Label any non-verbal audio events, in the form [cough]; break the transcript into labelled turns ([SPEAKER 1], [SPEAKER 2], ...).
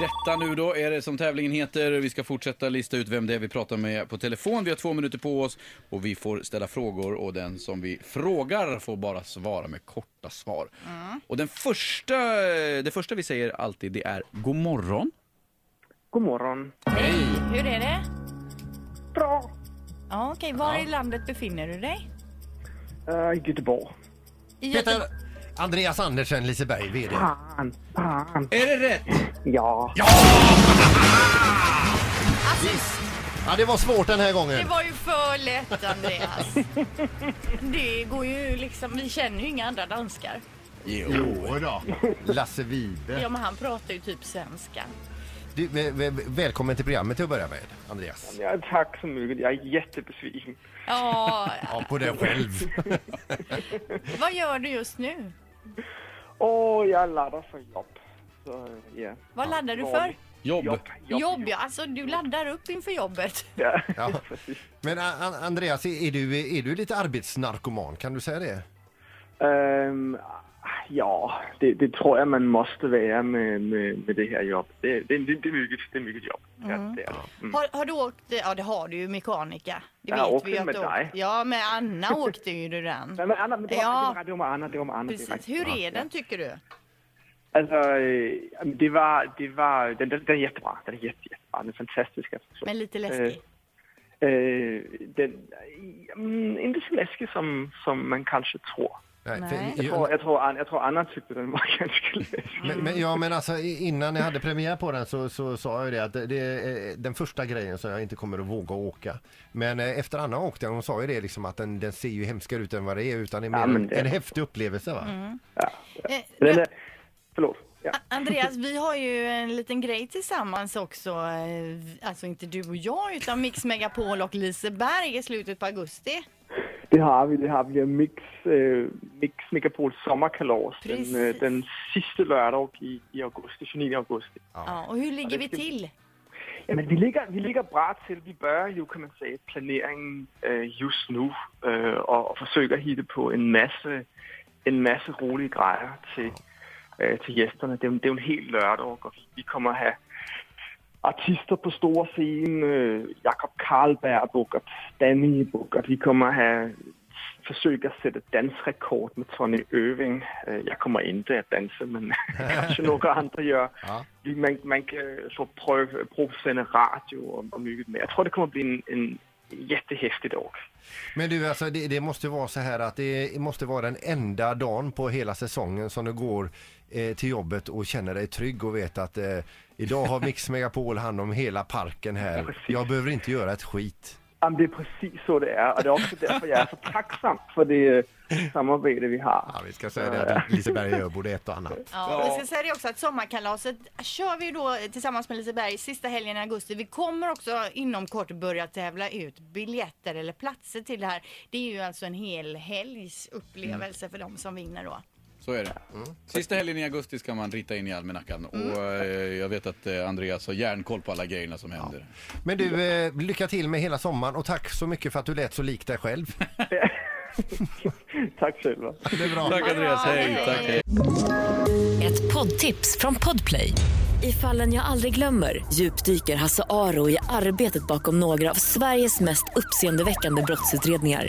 [SPEAKER 1] Detta nu då är det som tävlingen heter. Vi ska fortsätta lista ut vem det är vi pratar med på telefon. Vi har två minuter på oss och vi får ställa frågor och den som vi frågar får bara svara med korta svar. Och den första, det första vi säger alltid det är god morgon.
[SPEAKER 2] God morgon.
[SPEAKER 3] Hej! Hur är det?
[SPEAKER 2] Bra.
[SPEAKER 3] Ja, okej. Var i landet befinner du dig?
[SPEAKER 2] Uh, Göteborg.
[SPEAKER 3] I
[SPEAKER 4] Peter Andreas Andersen, Liseberg, VD.
[SPEAKER 2] Fan, fan.
[SPEAKER 1] Är det rätt?
[SPEAKER 2] Ja. ja.
[SPEAKER 4] Ja, det var svårt den här
[SPEAKER 3] Det
[SPEAKER 4] gången.
[SPEAKER 3] var ju för lätt, Andreas. Det går ju liksom... Vi känner ju inga andra danskar.
[SPEAKER 5] Jo då.
[SPEAKER 4] Lasse Vibe.
[SPEAKER 3] Ja, men han pratar ju typ svenska.
[SPEAKER 4] Du, vä- vä- välkommen till programmet till att börja med, Andreas.
[SPEAKER 2] Tack så mycket. Jag är jättebesviken.
[SPEAKER 3] Ja,
[SPEAKER 4] Ja, på dig själv.
[SPEAKER 3] vad gör du just nu?
[SPEAKER 2] Och jag laddar för jobb. Så, eh, ja.
[SPEAKER 3] Vad laddar du för?
[SPEAKER 1] Jobb.
[SPEAKER 3] Jobb, ja. Alltså, du laddar upp inför jobbet.
[SPEAKER 2] Ja.
[SPEAKER 4] Ja. Men A- A- Andreas, är är du, är du lite arbetsnarkoman? Kan du säga det?
[SPEAKER 2] Ehm, ja, det, det tror jag man måste vara med, med, med det här jobbet. Det, det, det, det, är, mycket, det är mycket jobb. Ja, det är det. Mm.
[SPEAKER 3] Har, har du åkt... Ja, det har du ju, mekanika. Det
[SPEAKER 2] Jag
[SPEAKER 3] vet
[SPEAKER 2] åkte
[SPEAKER 3] vi ju att
[SPEAKER 2] med
[SPEAKER 3] du åkt.
[SPEAKER 2] dig.
[SPEAKER 3] Ja, med Anna åkte ju du
[SPEAKER 2] [laughs]
[SPEAKER 3] den.
[SPEAKER 2] Nej, men Anna, men det var,
[SPEAKER 3] Ja.
[SPEAKER 2] det var, det var Anna, det var Anna. det var-
[SPEAKER 3] Precis. Hur är den, tycker du?
[SPEAKER 2] Alltså, eh, det var, det var, den, den, den är jättebra. Den är jätte, jättebra. Den är fantastisk. alltså.
[SPEAKER 3] Men lite läskig.
[SPEAKER 2] Eh, den, mm, inte så läskig som, som man kanske tror.
[SPEAKER 3] Nej.
[SPEAKER 4] för-
[SPEAKER 2] Jag tror, jag tror, An- jag tror Anna tyckte den var [laughs] ganska läskig.
[SPEAKER 4] Men, men, ja, men alltså, i- innan jag hade premiär på den så, så sa jag ju det att det, det är den första grejen som jag inte kommer att våga åka. Men eh, efter Anna åkte, hon sa ju det liksom att den, den ser ju hemskare ut än vad det är utan det är mer
[SPEAKER 2] Ja, men det- Mm.
[SPEAKER 4] en häftig upplevelse va?
[SPEAKER 3] Eh,
[SPEAKER 2] Den är, förlåt. Ja.
[SPEAKER 3] A- Andreas, vi har ju en liten grej tillsammans också. eh, vi- Alltså inte du och jag, utan Mix Megapol och Liseberg i slutet på augusti.
[SPEAKER 2] Det har vi, det har vi. Mix, eh, Mix Megapol sommarkalas
[SPEAKER 3] Precis.
[SPEAKER 2] den, eh, den sista lördag i, i augusti, 29 augusti.
[SPEAKER 3] Ja, och hur ligger
[SPEAKER 2] det
[SPEAKER 3] vi
[SPEAKER 2] ska-
[SPEAKER 3] till?
[SPEAKER 2] Ja, men vi, ligger, vi ligger bra till. Vi börjar ju kan man säga planeringen eh, just nu eh, och, och försöker hitta på en massa, en massa roliga grejer till, eh, till gästerna. Det är, ju- det är ju en hel lördag och vi kommer att ha artister på stora scen. Eh, Jakob Karlberg Bukert, Danny Bukert. Vi kommer att ha försöka sätta dansrekord med Tony Öving. Eh, Jag kommer inte att dansa, men [laughs] kanske några andra gör.
[SPEAKER 4] Ja.
[SPEAKER 2] Man, man kan så pröv, provsända radio och, och mycket mer. Jag tror det kommer att bli en, en jättehäftig dag.
[SPEAKER 4] Men du, alltså, det, det måste vara så här att det måste vara den enda dagen på hela säsongen som du går eh, till jobbet och känner dig trygg och vet att eh, idag har [laughs] Mix Megapol hand om hela parken här.
[SPEAKER 2] Precis.
[SPEAKER 4] Jag behöver inte göra ett skit.
[SPEAKER 2] Ja, men det är precis så det är och det är också därför jag är så tacksam för det eh, samarbete vi har.
[SPEAKER 4] Ja, vi ska säga det att Liseberg och jag borde ett och annat.
[SPEAKER 3] Ja, vi ska säga det också att sommarkalaset kör vi ju då eh, tillsammans med Liseberg sista helgen i augusti. Vi kommer också inom kort börja tävla ut biljetter eller platser till det här. Det är ju alltså en hel helgs upplevelse för de som vinner då.
[SPEAKER 1] Så är det. Sista helgen i augusti ska man rita in i almanackan. Och eh, jag vet att eh, Andreas har järnkoll på alla grejerna som händer.
[SPEAKER 4] Men du, eh, lycka till med hela sommaren och tack så mycket för att du lät så lik dig själv.
[SPEAKER 2] [laughs] Tack själva.
[SPEAKER 4] Det är bra.
[SPEAKER 1] Tack Andreas, hej.
[SPEAKER 3] Hej.
[SPEAKER 1] Tack, hej.
[SPEAKER 6] Ett poddtips från Podplay. I fallen jag aldrig glömmer djupdyker Hasse Aro i arbetet bakom några av Sveriges mest uppseendeväckande brottsutredningar.